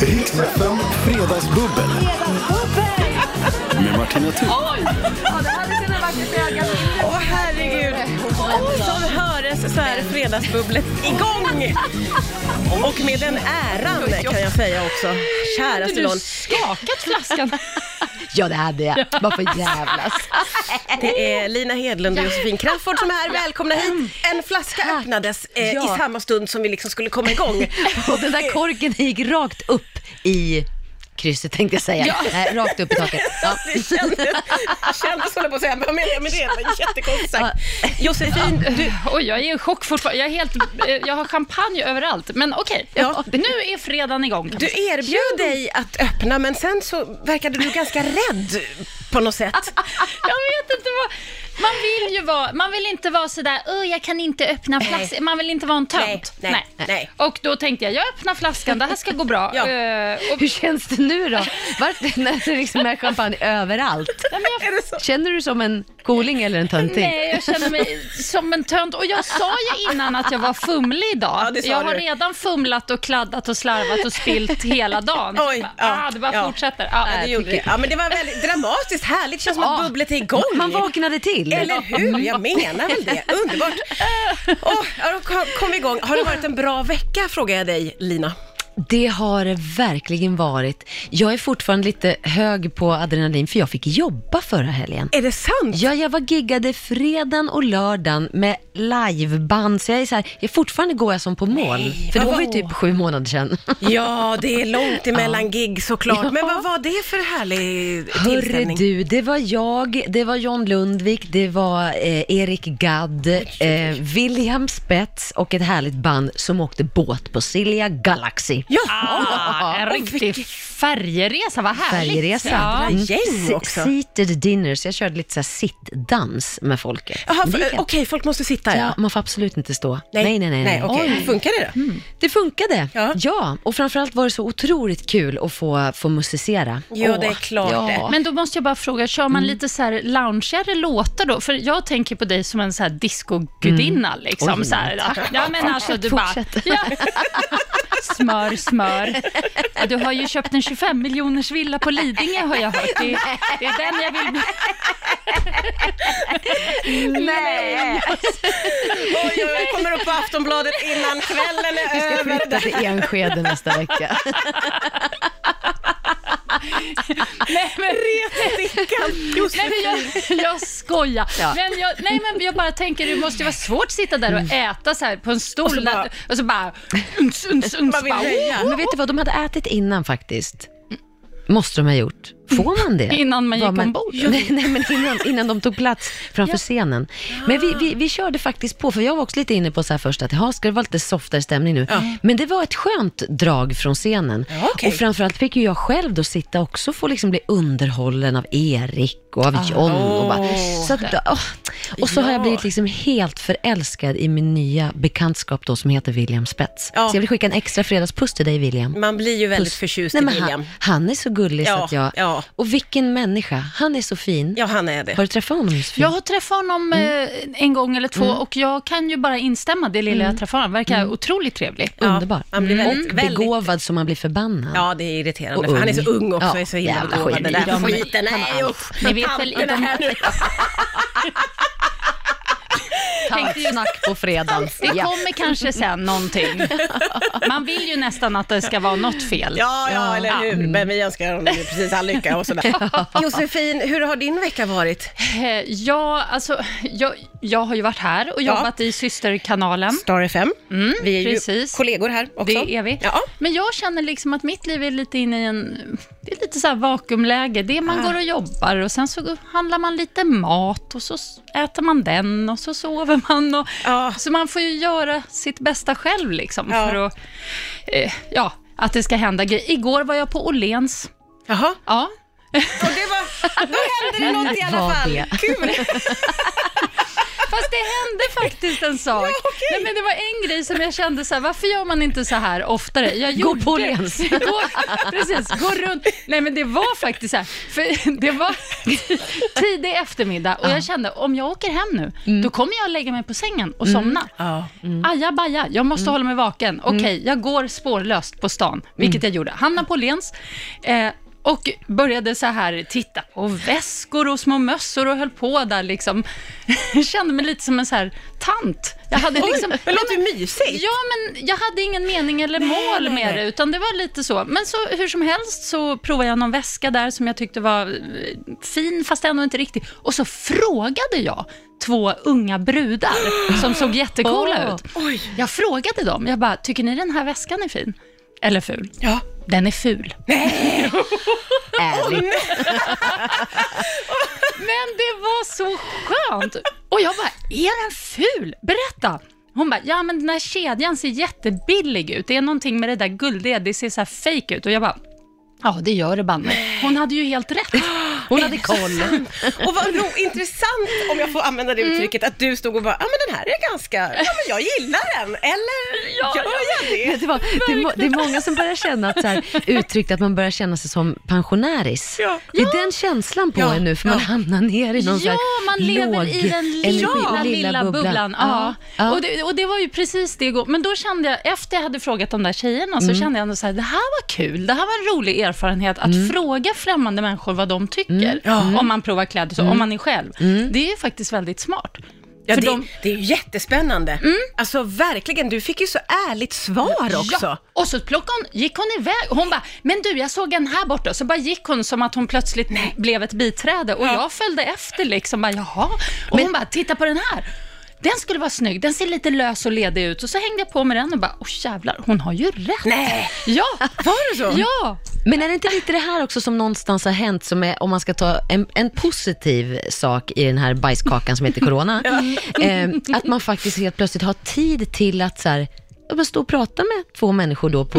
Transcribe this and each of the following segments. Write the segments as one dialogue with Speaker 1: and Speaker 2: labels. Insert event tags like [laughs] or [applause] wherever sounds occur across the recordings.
Speaker 1: Riksfem Fredagsbubbel. Med Martina Thun.
Speaker 2: Åh herregud! Oj, som höres så är fredagsbubblet igång! Och med den äran kan jag säga också, käraste nån.
Speaker 3: skakat flaskan?
Speaker 4: [laughs] Ja, det hade jag. Bara för jävlas.
Speaker 2: Det är Lina Hedlund och Josefin Crafoord som är här. Välkomna hit! En flaska öppnades eh,
Speaker 4: Ja.
Speaker 2: i samma stund som vi liksom skulle komma
Speaker 4: [laughs]
Speaker 2: igång.
Speaker 4: Och den där korken gick rakt upp i krysset tänkte jag säga. Nej, rakt upp i taket. Ja.
Speaker 2: Det kändes, kändes höll jag på att säga, men vad menar jag med det? Det var jättekonstigt sagt. Josefin, du,
Speaker 3: Oj, jag är i chock fortfarande. Jag, är helt, eh, jag har champagne överallt. Men okej,
Speaker 2: Ja.
Speaker 3: nu är fredagen igång. kan
Speaker 2: du
Speaker 3: man säga.
Speaker 2: erbjöd dig att öppna, men sen så verkade du ganska rädd på något
Speaker 4: [laughs]
Speaker 2: sätt.
Speaker 3: Jag vet inte vad... Man vill ju vara... Man vill inte vara sådär, oh, jag kan inte öppna flaskan. Man vill inte vara en tönt.
Speaker 2: Nej, nej, nej.
Speaker 3: Och då tänkte jag, jag öppnar flaskan, det här ska gå bra.
Speaker 2: Ja.
Speaker 3: Eh, och,
Speaker 4: Hur känns det nu då? Varför när det liksom är champagne överallt?
Speaker 3: nej, men jag
Speaker 2: Är det så?
Speaker 4: Känner du som en koling eller en tönting?
Speaker 3: Nej, jag känner mig som en tönt. Och jag sa ju innan att jag var fumlig idag.
Speaker 2: Ja, det sa
Speaker 3: jag har
Speaker 2: du.
Speaker 3: redan fumlat och kladdat och slarvat och spilt hela dagen.
Speaker 2: Oj,
Speaker 3: Bara,
Speaker 2: ja,
Speaker 3: ah, det bara
Speaker 2: ja.
Speaker 3: fortsätter.
Speaker 2: Ja, det
Speaker 3: äh,
Speaker 2: gjorde det. Ja, men det var väldigt dramatiskt, härligt. känns som att
Speaker 4: Ja.
Speaker 2: bubblet är igång.
Speaker 4: Man vaknade till.
Speaker 2: Eller hur? Jag menar väl det. Underbart. Åh, ja, då kom- kom vi igång. Har det varit en bra vecka, frågar jag dig, Lina.
Speaker 4: Det har det verkligen varit. Jag är fortfarande lite hög på adrenalin för jag fick jobba förra helgen.
Speaker 2: Är det sant?
Speaker 4: Ja, jag var giggade fredagen och lördagen med liveband, så jag är så här, jag fortfarande går jag som på mål. för det
Speaker 2: vad
Speaker 4: var ju
Speaker 2: var-
Speaker 4: typ sju månader sedan.
Speaker 2: Ja, det är långt emellan gig såklart.
Speaker 4: Ja.
Speaker 2: Men vad var det för härlig
Speaker 4: Hörru
Speaker 2: tillställning?
Speaker 4: du, det var jag, det var John Lundvik, det var eh, Erik Gadd, eh, William Spets och ett härligt band som åkte båt på Silja Galaxy.
Speaker 2: Jaha!
Speaker 3: Ah, en riktig färjeresa, vad härligt.
Speaker 4: Färjeresa.
Speaker 3: Ja.
Speaker 2: Jädra gäng
Speaker 4: Se-
Speaker 2: också.
Speaker 4: Mm. Seated dinners, jag körde lite så här sittdans med folket.
Speaker 2: Jaha,
Speaker 4: Men det
Speaker 2: för-
Speaker 4: gick
Speaker 2: Okej, folk måste sitta
Speaker 4: Ja,
Speaker 2: ja.
Speaker 4: man får absolut inte stå. Nej, nej, nej. nej,
Speaker 2: okej. Funkar det då?
Speaker 4: Det funkade.
Speaker 2: Ja.
Speaker 4: Ja. och framförallt var det så otroligt kul att få, få musicera.
Speaker 2: Jo,
Speaker 4: Åh,
Speaker 2: det är klart
Speaker 4: ja. Mm.
Speaker 2: det.
Speaker 3: Men då måste jag bara fråga, kör man lite så här loungeigare låtar då? För jag tänker på dig som en så här discogudinna liksom.
Speaker 4: Mm. Oj,
Speaker 3: så här, ja. ja, men alltså du bara...
Speaker 4: fortsätt.
Speaker 3: Ja. Smör, smör. Ja, Du har ju köpt en 25 miljoners villa på Lidingö har jag hört. Det, det är den jag vill bli.
Speaker 4: Nej.
Speaker 2: Oj, oj, oj, kommer upp på Aftonbladet innan kvällen [laughs]
Speaker 4: Vi
Speaker 2: är
Speaker 4: ska
Speaker 2: över.
Speaker 4: flytta till Enskede nästa vecka.
Speaker 3: Nej, men,
Speaker 2: Stickan.
Speaker 3: nej, men jag, [laughs] jag skojar.
Speaker 4: Ja.
Speaker 3: Men jag, nej, men jag bara tänker, det måste ju vara svårt att sitta där och äta så här på en stol. Och så
Speaker 2: Mm. bara-
Speaker 3: bara... Och så bara uns,
Speaker 2: [laughs]
Speaker 3: uns, uns,
Speaker 2: Man vill
Speaker 3: bara,
Speaker 2: röja.
Speaker 4: Men vet du vad, de hade ätit innan faktiskt. Måste de ha gjort. Får man det?
Speaker 3: Innan man
Speaker 4: Var
Speaker 3: gick ombord?
Speaker 4: Nej, nej, men innan, innan de tog plats framför
Speaker 3: Ja.
Speaker 4: scenen. Men vi, vi, vi körde faktiskt på, för jag var också lite inne på så här först att, jaha, ska det vara lite softare stämning nu? Men det var ett skönt drag från scenen.
Speaker 2: Ja, okej.
Speaker 4: Och framförallt fick ju jag själv då sitta också och få liksom bli underhållen av Erik och av John. Och, bara, så att, åh. och så har
Speaker 2: Ja.
Speaker 4: jag blivit liksom helt förälskad i min nya bekantskap då som heter William Spets.
Speaker 2: Ja.
Speaker 4: Så jag vill skicka en extra fredagspuss till dig William.
Speaker 2: Man blir ju väldigt
Speaker 4: Puss.
Speaker 2: Mm, förtjust
Speaker 4: Nej,
Speaker 2: i
Speaker 4: men
Speaker 2: William.
Speaker 4: Han, han är så gullig
Speaker 2: Ja,
Speaker 4: så att jag...
Speaker 2: ja.
Speaker 4: Och vilken människa. Han är så fin.
Speaker 2: Ja, han är det.
Speaker 4: Har du träffat honom Josefin?
Speaker 3: Jag har träffat honom eh, en gång eller två och jag kan ju bara instämma det lilla jag träffade honom. Verkar otroligt trevlig.
Speaker 2: Ja,
Speaker 4: Underbar. Mm.
Speaker 2: han blir väldigt-
Speaker 4: och
Speaker 2: väldigt-
Speaker 4: begåvad så man blir förbannad.
Speaker 2: Ja, det är irriterande.
Speaker 4: Och
Speaker 2: För han är så
Speaker 4: ung.
Speaker 2: ung också,
Speaker 4: Ja,
Speaker 2: är så himla
Speaker 4: jävla
Speaker 2: begåvad. Den
Speaker 4: geni.
Speaker 2: där
Speaker 4: Ja, men-
Speaker 2: skiten, nej usch.
Speaker 3: Ni vet väl
Speaker 2: Tanterna
Speaker 3: inte-
Speaker 2: här
Speaker 3: [laughs]
Speaker 2: nu.
Speaker 4: Tantsnack
Speaker 2: [laughs]
Speaker 4: på fredagen.
Speaker 3: Det kommer kanske sen någonting. [laughs] Man vill ju nästan att det ska vara något fel.
Speaker 2: Ja, ja, eller hur. Men vi önskar honom ju precis all lycka och sådär. Josefin, hur har din vecka varit?
Speaker 3: Eh, Ja, alltså, jag, jag har ju varit här och
Speaker 2: Ja.
Speaker 3: jobbat i systerkanalen.
Speaker 2: Star FM. vi är
Speaker 3: precis.
Speaker 2: ju kollegor här också.
Speaker 3: Det är vi.
Speaker 2: Ja.
Speaker 3: Men jag känner liksom att mitt liv är lite inne i en... Det är lite så här vakuumläge. Det är man går och jobbar och sen så handlar man lite mat och så s- äter man den och så sover man. Och,
Speaker 2: Ja.
Speaker 3: Så man får ju göra sitt bästa själv liksom
Speaker 2: Ja.
Speaker 3: för att... Eh, ja, att det ska hända grejer. Igår var jag på Åhléns.
Speaker 2: Jaha,
Speaker 3: Ja.
Speaker 2: och det var, då hände det något i alla
Speaker 4: Vad
Speaker 2: fall.
Speaker 4: det.
Speaker 2: Kul!
Speaker 3: Fast det hände faktiskt en sak. Nej, men det var en grej som jag kände så här, varför gör man inte så här oftare? Jag
Speaker 4: Gå
Speaker 3: gjorde,
Speaker 4: på
Speaker 3: [laughs]
Speaker 4: läns.
Speaker 3: Gå, precis, gå runt. Nej men det var faktiskt så här, för det var tidig eftermiddag och jag kände, om jag åker hem nu,
Speaker 4: Mm.
Speaker 3: då kommer jag lägga mig på sängen och somna. Mm. Aja baja, jag måste hålla mig vaken. Okej, jag går spårlöst på stan, vilket jag gjorde. Hanna på Lens. Eh, och började så här titta på väskor och små mössor och höll på där liksom. [laughs] Jag kände mig lite som en så här tant. Jag hade liksom...
Speaker 2: Men låter ju mysigt.
Speaker 3: Ja, men jag hade ingen mening eller mål
Speaker 2: nej,
Speaker 3: med
Speaker 2: nej.
Speaker 3: det, utan det var lite så. Men så, hur som helst så provade jag någon väska där som jag tyckte var eh, fin, fast ändå inte riktigt. Och så frågade jag två unga brudar som såg jättecoola
Speaker 4: Åh.
Speaker 3: ut. Jag frågade dem, jag bara, tycker ni den här väskan är fin? Eller ful?
Speaker 2: Ja.
Speaker 3: Den är ful.
Speaker 4: Ärligt.
Speaker 3: Men det var så skönt. Och jag bara, är den ful? Berätta. Hon bara, ja men den här kedjan ser jättebillig ut. Det är någonting med det där guldiga, det ser så här fake ut. Och jag bara, ja det gör det banne mig." Hon hade ju helt rätt. Hon hade koll.
Speaker 2: Och vad ro, intressant, om jag får använda
Speaker 3: Mm.
Speaker 2: det uttrycket, att du stod och bara, ja ah, men den här är ganska, ja men jag gillar den, eller
Speaker 3: Ja,
Speaker 2: gör jag det?
Speaker 4: Vet du vad? Det, är, må- det är många som börjar känna att så här, uttryckt att man börjar känna sig som pensionäris.
Speaker 2: Ja.
Speaker 4: Det är den känslan på
Speaker 2: Ja.
Speaker 4: en nu, för man
Speaker 2: Ja.
Speaker 4: hamnar ner i någon så
Speaker 3: Ja,
Speaker 4: här
Speaker 3: man lever
Speaker 4: låg
Speaker 3: i den lilla,
Speaker 4: energi-
Speaker 3: lilla bubblan. Ja.
Speaker 4: Ja.
Speaker 3: Och, det, och det var ju precis det igår. Men då kände jag, efter jag hade frågat de där tjejerna, så
Speaker 4: Mm.
Speaker 3: kände jag ändå så här, det här var kul. Det här var en rolig erfarenhet, att
Speaker 4: Mm.
Speaker 3: fråga främmande människor vad de tycker, om man provar kläder,
Speaker 4: Mm.
Speaker 3: så, om man är själv. Det är ju faktiskt väldigt smart.
Speaker 2: Ja,
Speaker 3: För
Speaker 2: det,
Speaker 3: de-
Speaker 2: det är ju jättespännande. Alltså verkligen, du fick ju så ärligt svar också.
Speaker 3: Mm. Ja, och så plockade hon, gick hon iväg. Hon bara, men du, jag såg en här borta. Och så bara gick hon som att hon plötsligt blev ett biträde. Och jag följde efter liksom, bara, jaha. Och hon bara, titta på den här. Den skulle vara snygg, den ser lite lös och ledig ut. Och så hängde jag på med den och bara, åh jävlar, hon har ju rätt.
Speaker 2: Nej,
Speaker 3: Ja,
Speaker 2: var det så?
Speaker 3: ja.
Speaker 4: Men är det inte lite det här också som någonstans har hänt, som är, om man ska ta en, en positiv sak i den här bajskakan som
Speaker 2: [laughs]
Speaker 4: heter corona, eh, att man faktiskt helt plötsligt har tid till att så här, ja, men stå och prata med två människor då på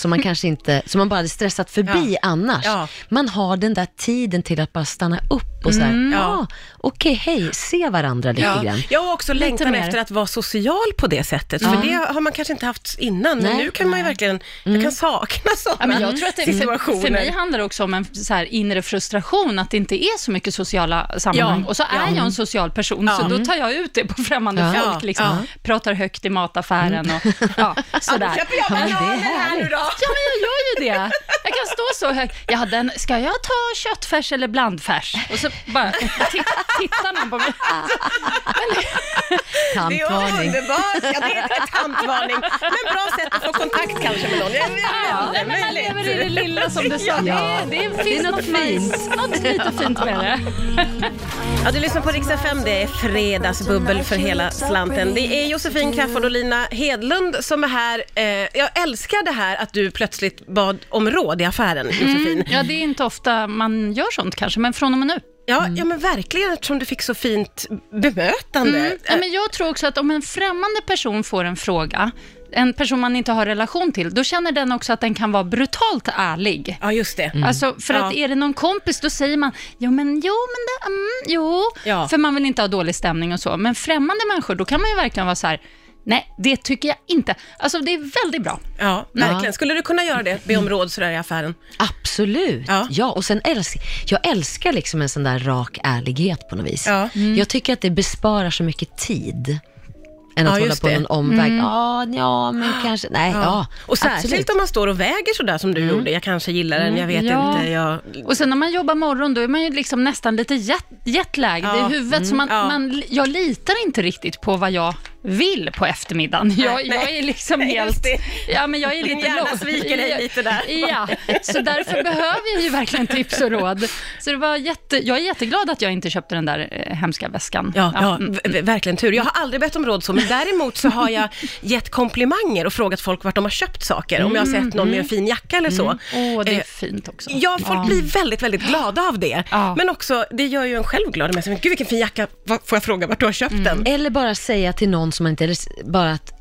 Speaker 2: [laughs]
Speaker 4: som man kanske inte, som man bara hade stressat förbi annars.
Speaker 2: Ja.
Speaker 4: Man har den där tiden till att bara stanna upp och så här, ja,
Speaker 2: Mm. Ja.
Speaker 4: okej, hej, se varandra lite
Speaker 2: Ja.
Speaker 4: grann.
Speaker 2: Jag har också längtan
Speaker 3: mer.
Speaker 2: efter att vara social på det sättet, för det har man kanske inte haft innan, men
Speaker 4: Nej.
Speaker 2: nu kan man ju verkligen, jag kan sakna sådana
Speaker 3: Mm. Ja, men jag tror att det,
Speaker 2: Mm. situationer.
Speaker 3: för, för mig handlar det också om en så här inre frustration, att det inte är så mycket sociala sammanhang.
Speaker 2: Ja,
Speaker 3: Och så är
Speaker 2: ja.
Speaker 3: jag en social person,
Speaker 2: Ja. Mm.
Speaker 3: så då tar jag ut det på främmande
Speaker 4: Ja.
Speaker 3: folk. Liksom.
Speaker 2: Ja. Mm.
Speaker 3: Pratar högt i mataffären och
Speaker 2: [laughs]
Speaker 3: ja, sådär.
Speaker 2: Då köper jag bananer här nu då.
Speaker 3: Ja, men jag gör ju det. Jag kan stå så högt. Ja, den, ska jag ta köttfärs eller blandfärs? Och så bara titt, tittar någon på mig.
Speaker 2: [laughs] Det är
Speaker 4: Tantvarning.
Speaker 2: underbart. Ja, det är en tantvarning. Men bra sätt att få kontakt kanske med någon. Jag vet
Speaker 3: Ja,
Speaker 2: inte,
Speaker 3: nej, men man lever i
Speaker 2: möjligt.
Speaker 3: det lilla som du sa.
Speaker 2: Ja.
Speaker 3: Det, är- det finns
Speaker 4: något
Speaker 3: något, nice, något lite fint med det.
Speaker 2: Ja, du lyssnar på Riksdag 5. Det är fredagsbubbel för hela slanten. Det är Josefin Crafoord och Lina Hedlund som är här. Eh, Jag älskar det här att du plötsligt bad om råd i
Speaker 3: Mm.
Speaker 2: affären, Josefin.
Speaker 3: Ja, det är inte ofta man gör sånt kanske, men från och med nu.
Speaker 2: Ja,
Speaker 3: Mm.
Speaker 2: ja, men verkligen eftersom du fick så fint bemötande.
Speaker 3: Mm.
Speaker 2: Eh,
Speaker 3: Ja, men jag tror också att om en främmande person får en fråga, en person man inte har relation till, då känner den också att den kan vara brutalt ärlig.
Speaker 2: Ja, just det.
Speaker 3: Alltså, för att
Speaker 2: Mm. Ja.
Speaker 3: är det någon kompis, då säger man jo, men jo, men det, mm, jo.
Speaker 2: Ja.
Speaker 3: För man vill inte ha dålig stämning och så. Men främmande människor, då kan man ju verkligen vara så här, nej, det tycker jag inte. Alltså, det är väldigt bra.
Speaker 2: Ja, verkligen. Skulle du kunna göra det? Be om råd sådär i affären?
Speaker 4: Absolut.
Speaker 2: Ja.
Speaker 4: Ja. och sen älskar jag älskar liksom en sån där rak ärlighet på något vis.
Speaker 2: Ja. Mm.
Speaker 4: Jag tycker att det besparar så mycket tid. Än att
Speaker 2: Ja,
Speaker 4: hålla
Speaker 2: just
Speaker 4: på
Speaker 2: det. Mm.
Speaker 4: någon omväg. Ja, ja, men kanske. Nej, ja.
Speaker 2: Och särskilt
Speaker 4: absolut.
Speaker 2: om man står och väger sådär som du gjorde. Jag kanske gillar den, jag vet
Speaker 3: Mm. Ja.
Speaker 2: inte. Jag...
Speaker 3: Och sen när man jobbar morgon, då är man ju liksom nästan lite jet, jetlag
Speaker 2: Ja. Mm,
Speaker 3: i huvudet. Så man,
Speaker 2: Ja.
Speaker 3: man, jag litar inte riktigt på vad jag vill på eftermiddagen. Jag, jag
Speaker 2: nej.
Speaker 3: är liksom
Speaker 2: Nej, just
Speaker 3: helt...
Speaker 2: det.
Speaker 3: Ja, men jag är
Speaker 2: Din
Speaker 3: lite
Speaker 2: hjärna
Speaker 3: low.
Speaker 2: sviker dig lite där.
Speaker 3: Ja, så därför behöver jag ju verkligen tips och råd. Så det var jätte, jag är jätteglad att jag inte köpte den där eh, hemska väskan.
Speaker 2: Ja, ja.
Speaker 3: mm.
Speaker 2: v- v- verkligen tur. Jag har aldrig bett om råd så, men däremot så har jag gett komplimanger och frågat folk vart de har köpt saker. Om jag har sett någon med en fin jacka eller så.
Speaker 3: Åh, det är
Speaker 2: Eh,
Speaker 3: fint också.
Speaker 2: Ja, folk blir väldigt, väldigt glada av det.
Speaker 3: Ja.
Speaker 2: Men också, det gör ju en själv glad. Men så, Gud, vilken fin jacka. Va- Får jag fråga vart du har köpt den?
Speaker 4: Eller bara säga till någon som man inte... Eller bara att,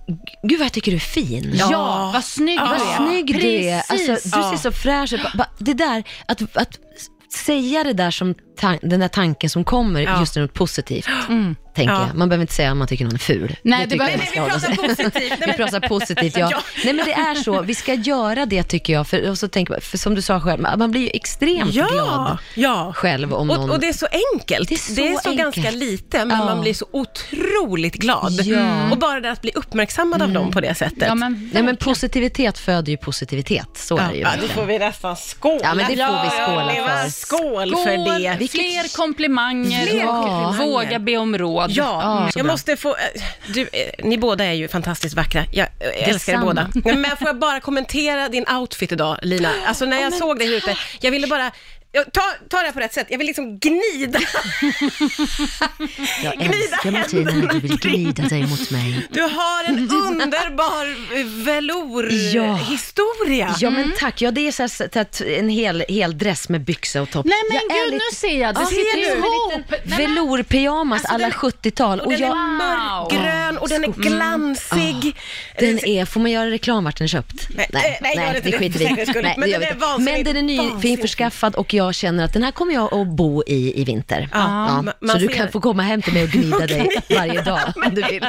Speaker 4: gud vad jag tycker du är fin.
Speaker 3: Ja, vad snygg du
Speaker 4: Vad
Speaker 3: är.
Speaker 4: snygg du är.
Speaker 3: Precis.
Speaker 4: Alltså, du ser så fräsch ut. Ba- ba- Det där, att, att säga det där som tan- den där tanken som kommer
Speaker 2: Ja. Mm.
Speaker 4: just när något positivt, tänker
Speaker 2: Ja.
Speaker 4: jag. Man behöver inte säga om man tycker någon är ful.
Speaker 3: Nej, det
Speaker 4: tycker
Speaker 3: behöver-
Speaker 4: jag man
Speaker 2: Vi
Speaker 3: Nej,
Speaker 4: ska hålla sig-
Speaker 2: pratar positivt.
Speaker 4: vi pratar positivt, ja.
Speaker 2: Ja.
Speaker 4: Nej men det är så, vi ska göra det tycker jag. För, och så tänker man, för som du sa själv, man man blir ju extremt glad
Speaker 2: Ja, ja.
Speaker 4: själv om någon...
Speaker 2: Och, och det är så enkelt.
Speaker 4: Det är så enkelt.
Speaker 2: ganska lite, men
Speaker 4: Ja.
Speaker 2: man blir så otroligt glad.
Speaker 4: Ja.
Speaker 2: Och bara det att bli uppmärksammad av dem på det sättet.
Speaker 3: Ja, men,
Speaker 4: Nej men positivitet föder ju positivitet, så är det ju.
Speaker 2: Ja, då
Speaker 4: verkligen.
Speaker 2: får vi nästan skåla.
Speaker 4: Ja, men det får vi skåla
Speaker 2: det var
Speaker 4: för.
Speaker 2: Skål,
Speaker 3: Skål,
Speaker 2: för det.
Speaker 3: Fler komplimanger,
Speaker 2: Fler
Speaker 3: och
Speaker 2: komplimanger.
Speaker 3: våga be om råd.
Speaker 2: Ja,
Speaker 4: så
Speaker 2: jag
Speaker 4: bra.
Speaker 2: måste få... eh, Du, eh, ni båda är ju fantastiskt vackra. Jag eh, älskar er
Speaker 4: Detsamma.
Speaker 2: båda. Nej, Men får jag bara kommentera din outfit idag, Lina? Alltså när jag såg dig här ute, jag ville bara... jag- Ta, ta det här på rätt sätt. Jag vill liksom gnida.
Speaker 4: Jag
Speaker 2: Gnida
Speaker 4: älskar Martina,
Speaker 2: händerna
Speaker 4: du
Speaker 2: [laughs]
Speaker 4: vill
Speaker 2: kring.
Speaker 4: glida dig mot mig.
Speaker 2: Du har
Speaker 4: [laughs]
Speaker 2: en underbar eh,
Speaker 4: Ja.
Speaker 2: velourhistoria.
Speaker 4: Ja men tack, ja det är så här, så att en hel, hel dress med byxa och topp.
Speaker 3: Nej men
Speaker 4: Jag är
Speaker 3: gud,
Speaker 4: lite-
Speaker 3: nu ser jag. Det
Speaker 4: Ja,
Speaker 3: sitter
Speaker 4: ser du?
Speaker 3: ihop. Nej, men-
Speaker 4: Velourpyjamas alla 70-tal.
Speaker 2: Och
Speaker 4: Och
Speaker 2: Alltså, den är
Speaker 4: jag,
Speaker 2: mörkgrön och den är glansig.
Speaker 4: Ah. den är, får man göra reklam vart den är köpt?
Speaker 2: Nej, eh, nej, gör inte
Speaker 4: det
Speaker 2: det,
Speaker 4: skiter
Speaker 2: för
Speaker 4: vi
Speaker 2: säkerhets
Speaker 4: i.
Speaker 2: skull.
Speaker 4: Nej,
Speaker 2: Men
Speaker 4: det gör
Speaker 2: den
Speaker 4: vi
Speaker 2: är
Speaker 4: inte.
Speaker 2: vansinnigt-
Speaker 4: Men den är ny,
Speaker 2: vansinnigt.
Speaker 4: införskaffad och jag känner att den här kommer jag att bo i i vinter. Ja,
Speaker 2: ma-
Speaker 4: så
Speaker 2: man
Speaker 4: du
Speaker 2: ser
Speaker 4: kan
Speaker 2: det.
Speaker 4: få komma hem till mig
Speaker 2: [laughs]
Speaker 4: och gnida dig varje dag om du vill.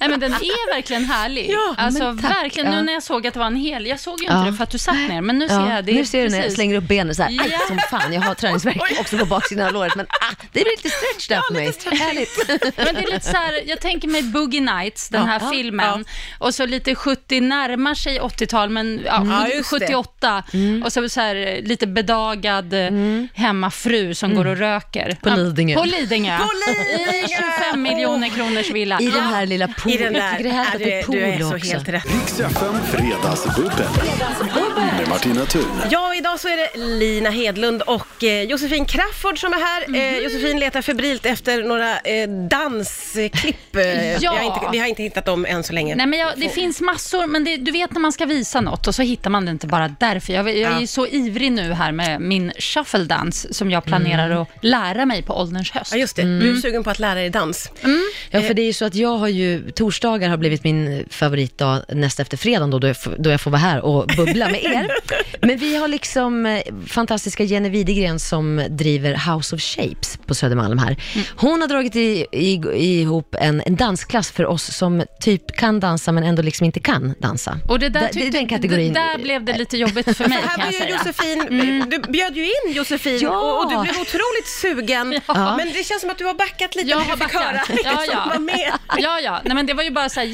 Speaker 3: Nej, men den är verkligen härlig.
Speaker 2: Ja,
Speaker 3: alltså,
Speaker 4: men tack.
Speaker 3: verkligen,
Speaker 4: Ja.
Speaker 3: nu när jag såg att det var en hel, jag såg ju inte
Speaker 4: Ja.
Speaker 3: det för att du satt ner, men nu ser
Speaker 4: Ja,
Speaker 3: jag det.
Speaker 4: nu ser du när jag
Speaker 3: Precis.
Speaker 4: slänger upp benen så här, aj
Speaker 3: Ja.
Speaker 4: som fan, jag har träningsvärk också på baksidan av låret men ah, det blir lite stretch där för mig. Härligt.
Speaker 3: Men det är lite så här, jag tänker mig Boogie Nights, den här
Speaker 4: Ja, Mm.
Speaker 3: filmen, och så lite 70, närmar sig 80-tal, men ja,
Speaker 2: Ja,
Speaker 3: sju-
Speaker 2: just det.
Speaker 3: 78, och så, så här, lite bedagad eh, hemmafru som går och röker.
Speaker 4: Mm. På
Speaker 3: Ja,
Speaker 4: Lidingö.
Speaker 3: På Lidingö.
Speaker 2: På Lidingö!
Speaker 3: I 25 miljoner kronors villa.
Speaker 4: I den här lilla poolen.
Speaker 2: I den
Speaker 4: Jag
Speaker 2: där.
Speaker 4: tycker det är härligt att det är
Speaker 2: du, du är
Speaker 4: pool
Speaker 2: så
Speaker 4: också.
Speaker 2: helt rätt.
Speaker 1: Riks FM Fredagsbubbel. Med Martina Thun.
Speaker 2: Ja, idag så är det Lina Hedlund och eh, Josefin Crafoord som är här.
Speaker 4: Mhm.
Speaker 2: Eh, Josefin letar febrilt efter några eh, dansklipp. Eh, vi, har inte, vi har inte hittat dem än så länge.
Speaker 3: Nej, men jag, det finns massor, men det, du vet när man ska visa något och så hittar man det inte bara därför. Jag, jag är ju så ivrig nu här med min shuffle dance som jag planerar att lära mig på ålderns höst.
Speaker 2: Ja, just det. Du är
Speaker 4: Mm.
Speaker 2: sugen på att lära dig dans.
Speaker 4: Ja, för det är ju så att jag har ju, torsdagar har blivit min favoritdag näst efter fredagen då, då, jag, får- då jag får vara här och bubbla
Speaker 3: [laughs]
Speaker 4: med er. Men vi har liksom eh, fantastiska Jenny Widegren som driver House of Shapes på Södermalm här.
Speaker 3: Mm.
Speaker 4: Hon har dragit i, i, ihop en, en dansklass för oss som typ kan dansa men ändå liksom inte kan dansa.
Speaker 3: Och det där,
Speaker 4: Där-
Speaker 3: tyckte,
Speaker 4: det är den kategorin.
Speaker 3: det där blev det lite jobbigt för mig
Speaker 2: Här
Speaker 3: kan
Speaker 2: var
Speaker 3: jag
Speaker 2: ju
Speaker 3: säga.
Speaker 2: Josefin, du bjöd ju in Josefin
Speaker 4: Mm. Ja.
Speaker 2: och, och du blev otroligt sugen.
Speaker 4: Ja.
Speaker 2: Men det känns som att du har backat lite
Speaker 3: Jag
Speaker 2: när
Speaker 3: har
Speaker 2: du fick
Speaker 3: backat.
Speaker 2: höra
Speaker 3: Ja,
Speaker 2: som
Speaker 3: ja.
Speaker 2: var med.
Speaker 3: Ja, ja. Nej, men det var ju bara så här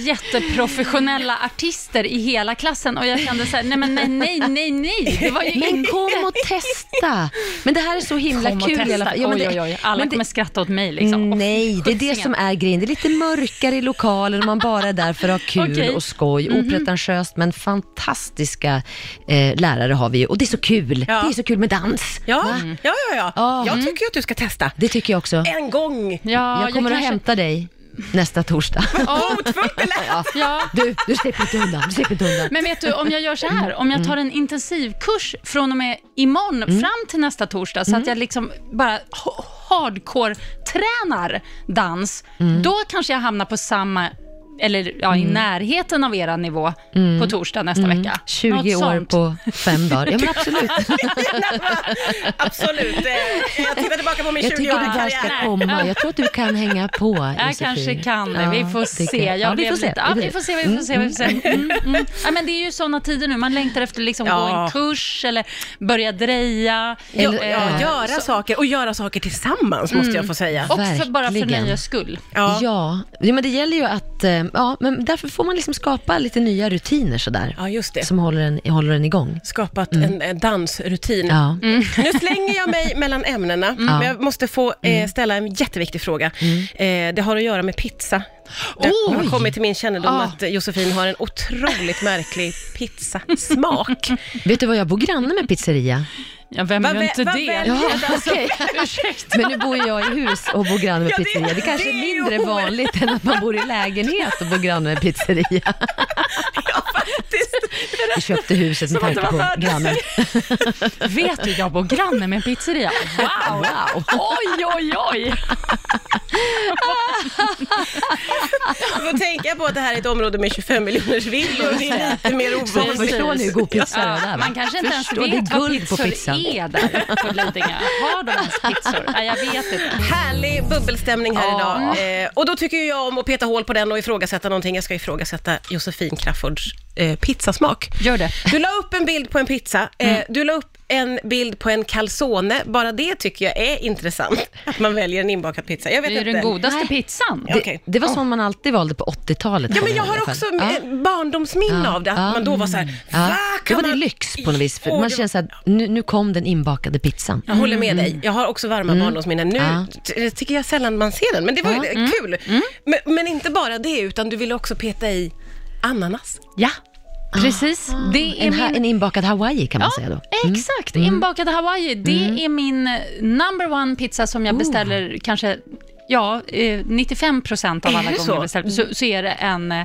Speaker 3: jätteprofessionella artister i hela klassen och jag kände så här, nej, men nej, nej, nej, nej. Det var ju
Speaker 4: Men
Speaker 3: inte...
Speaker 4: kom och testa! Men det här är så himla
Speaker 3: Kom och
Speaker 4: kul i alla
Speaker 3: testa.
Speaker 4: fall. Ja, men
Speaker 3: oj,
Speaker 4: det-
Speaker 3: oj, oj. Alla
Speaker 4: men det-
Speaker 3: kommer skratta åt mig liksom. Åh,
Speaker 4: Mm, Nej, det är det
Speaker 3: skjutsingen.
Speaker 4: som är grejen. Det är lite mörkare i lokalen och man bara är där för att ha kul
Speaker 3: [laughs] Okej. Mhm.
Speaker 4: och skoj. Opretentiöst, men fantastiska eh, lärare har vi ju. Och det är så kul.
Speaker 2: Ja.
Speaker 4: Det är så kul med dans.
Speaker 2: Ja,
Speaker 4: Va?
Speaker 2: ja, ja. ja.
Speaker 4: Mm. Ja. Mm.
Speaker 2: Jag tycker ju att du ska testa.
Speaker 4: Det tycker jag också.
Speaker 2: En gång.
Speaker 3: Ja,
Speaker 4: jag kommer att
Speaker 3: kanske-
Speaker 4: hämta dig nästa
Speaker 3: [laughs]
Speaker 4: torsdag.
Speaker 2: Hotfull eller?
Speaker 3: Ja,
Speaker 4: Du, du slipper inte undan. Du slipper inte undan.
Speaker 3: Men vet du, om jag gör så
Speaker 4: Mm.
Speaker 3: här, om jag tar en intensivkurs från och med imorgon
Speaker 4: Mm.
Speaker 3: fram till nästa torsdag, så att jag liksom bara h- hardcore-tränar dans,
Speaker 4: Mm.
Speaker 3: då kanske jag hamnar på samma eller ja, i närheten av era nivå på torsdag nästa vecka.
Speaker 4: 20
Speaker 3: Något
Speaker 4: Mm. år
Speaker 3: sånt.
Speaker 4: på fem dagar. Ja,
Speaker 3: [laughs]
Speaker 4: men absolut.
Speaker 2: Absolut. Eh, Jag tittar tillbaka på min
Speaker 4: Jag tycker det
Speaker 2: 20-åriga
Speaker 4: där ska
Speaker 2: karriär.
Speaker 4: komma. Jag tror att du kan hänga på,
Speaker 3: Jag
Speaker 4: Josefin.
Speaker 3: kanske kan det.
Speaker 4: Ja,
Speaker 3: Vi får
Speaker 4: det kan-
Speaker 3: se. Jag
Speaker 4: Ja, vi
Speaker 3: blev
Speaker 4: får se.
Speaker 3: Lite, ja, vi får se. Vi får se, vi får se. Mm, mm. Ja, men det är ju sådana tider nu. Man längtar efter att liksom gå
Speaker 2: Ja.
Speaker 3: en kurs eller börja dreja.
Speaker 2: Ja,
Speaker 4: Eller-
Speaker 2: ja,
Speaker 4: eh, Mm.
Speaker 2: göra saker och göra saker tillsammans måste jag få säga.
Speaker 3: Och för, bara för
Speaker 4: Verkligen.
Speaker 3: nöjes skull.
Speaker 2: Ja.
Speaker 4: Ja. Ja. men det gäller ju att, eh, ja, men därför får man liksom skapa lite nya rutiner sådär.
Speaker 2: Ja, just det.
Speaker 4: Som håller en, håller en igång.
Speaker 2: Skapat en, eh, dansrutin.
Speaker 4: Mm.
Speaker 2: Mm.
Speaker 4: Ja. Mm.
Speaker 2: Nu slänger jag mig mellan ämnena, men jag måste få
Speaker 4: Mm.
Speaker 2: eh, ställa en jätteviktig fråga. Eh, det har att göra med pizza. Det har
Speaker 4: Oj!
Speaker 2: kommit till min kännedom
Speaker 3: Ah.
Speaker 2: att eh, Josefin har en otroligt märklig
Speaker 4: [laughs]
Speaker 2: pizzasmak.
Speaker 4: Vet du vad, jag bor granne
Speaker 2: [laughs]
Speaker 4: med pizzeria.
Speaker 3: Ja, vem
Speaker 2: Vad
Speaker 3: gör
Speaker 2: vä-
Speaker 3: inte
Speaker 2: vad
Speaker 3: det?
Speaker 2: väl-
Speaker 4: Ja,
Speaker 2: Alltså,
Speaker 4: okej.
Speaker 3: [laughs]
Speaker 4: Men nu bor ju jag i hus och bor granne med
Speaker 2: Ja, det-
Speaker 4: pizzeria. Det kanske
Speaker 2: det
Speaker 4: är
Speaker 2: är ju
Speaker 4: mindre
Speaker 2: oerhört.
Speaker 4: vanligt än att man bor i lägenhet och bor granne med pizzeria.
Speaker 2: [laughs]
Speaker 4: Vi köpte huset med
Speaker 3: Som att
Speaker 4: tanke
Speaker 3: det var
Speaker 4: på
Speaker 3: värt det.
Speaker 2: [laughs]
Speaker 4: grannen.
Speaker 3: Vet du, jag bor granne med en pizzeria. Wow!
Speaker 4: Wow.
Speaker 3: Oj, oj, oj!
Speaker 2: Du får tänka på att det här är ett område med 25 miljoners villor. Det är lite mer
Speaker 4: Så
Speaker 2: ovanligt.
Speaker 4: förstår ni hur god pizza det
Speaker 3: Ja,
Speaker 4: där va?
Speaker 3: man kanske inte ens
Speaker 4: Förstår,
Speaker 3: vet
Speaker 4: det är
Speaker 3: vad
Speaker 4: guld på
Speaker 3: pizzor
Speaker 4: pizzan.
Speaker 3: är där på Lidingö. Har de ens pizzor? Nej, jag vet inte.
Speaker 2: Härlig bubbelstämning här
Speaker 3: Ja.
Speaker 2: idag. Eh, och då tycker ju jag om att peta hål på den och ifrågasätta någonting. Jag ska ifrågasätta Josefin Crafoords eh, pizzasmak.
Speaker 3: Gör det.
Speaker 2: Du la upp en bild på en pizza. Eh,
Speaker 4: Mm.
Speaker 2: Du la upp en bild på en calzone. Bara det tycker jag är intressant. Att man väljer en inbakad pizza. Jag vet
Speaker 3: Det är ju
Speaker 2: inte.
Speaker 3: den godaste pizzan.
Speaker 2: Ja.
Speaker 4: Det,
Speaker 2: Okej.
Speaker 4: det var sånt man alltid valde på 80-talet.
Speaker 2: Ja, men
Speaker 4: i
Speaker 2: jag
Speaker 4: alla
Speaker 2: har
Speaker 4: fall.
Speaker 2: också
Speaker 4: Ja.
Speaker 2: eh, barndomsminne
Speaker 4: Ja.
Speaker 2: av det. Att
Speaker 4: Ja.
Speaker 2: man då var så här, va?
Speaker 4: Ah. Ja.
Speaker 2: Kan
Speaker 4: Då var det
Speaker 2: man-
Speaker 4: lyx på något vis. För
Speaker 2: Åh,
Speaker 4: man
Speaker 2: det
Speaker 4: känner så här, nu, nu kom den inbakade pizzan.
Speaker 2: Jag håller med
Speaker 3: Mm.
Speaker 2: dig. Jag har också varma barndomsminnen. Nu
Speaker 4: Ja.
Speaker 2: t- tycker jag sällan man ser den, men det var ju
Speaker 4: Ja.
Speaker 3: Mm.
Speaker 2: kul. Men, men inte bara det, utan du ville också peta i ananas.
Speaker 3: Ja, precis. Det är
Speaker 4: Ah. En, ha,
Speaker 3: min...
Speaker 4: en inbakad hawaii kan man säga då. Mm.
Speaker 2: Mm.
Speaker 3: Exakt, inbakade hawaii. Det är min eh, number one pizza som
Speaker 2: Oh.
Speaker 3: jag beställer kanske Ja, eh, 95 procent av
Speaker 2: Är
Speaker 3: alla
Speaker 2: det
Speaker 3: gånger
Speaker 2: så? Mm.
Speaker 3: jag beställer så, så är det en, eh,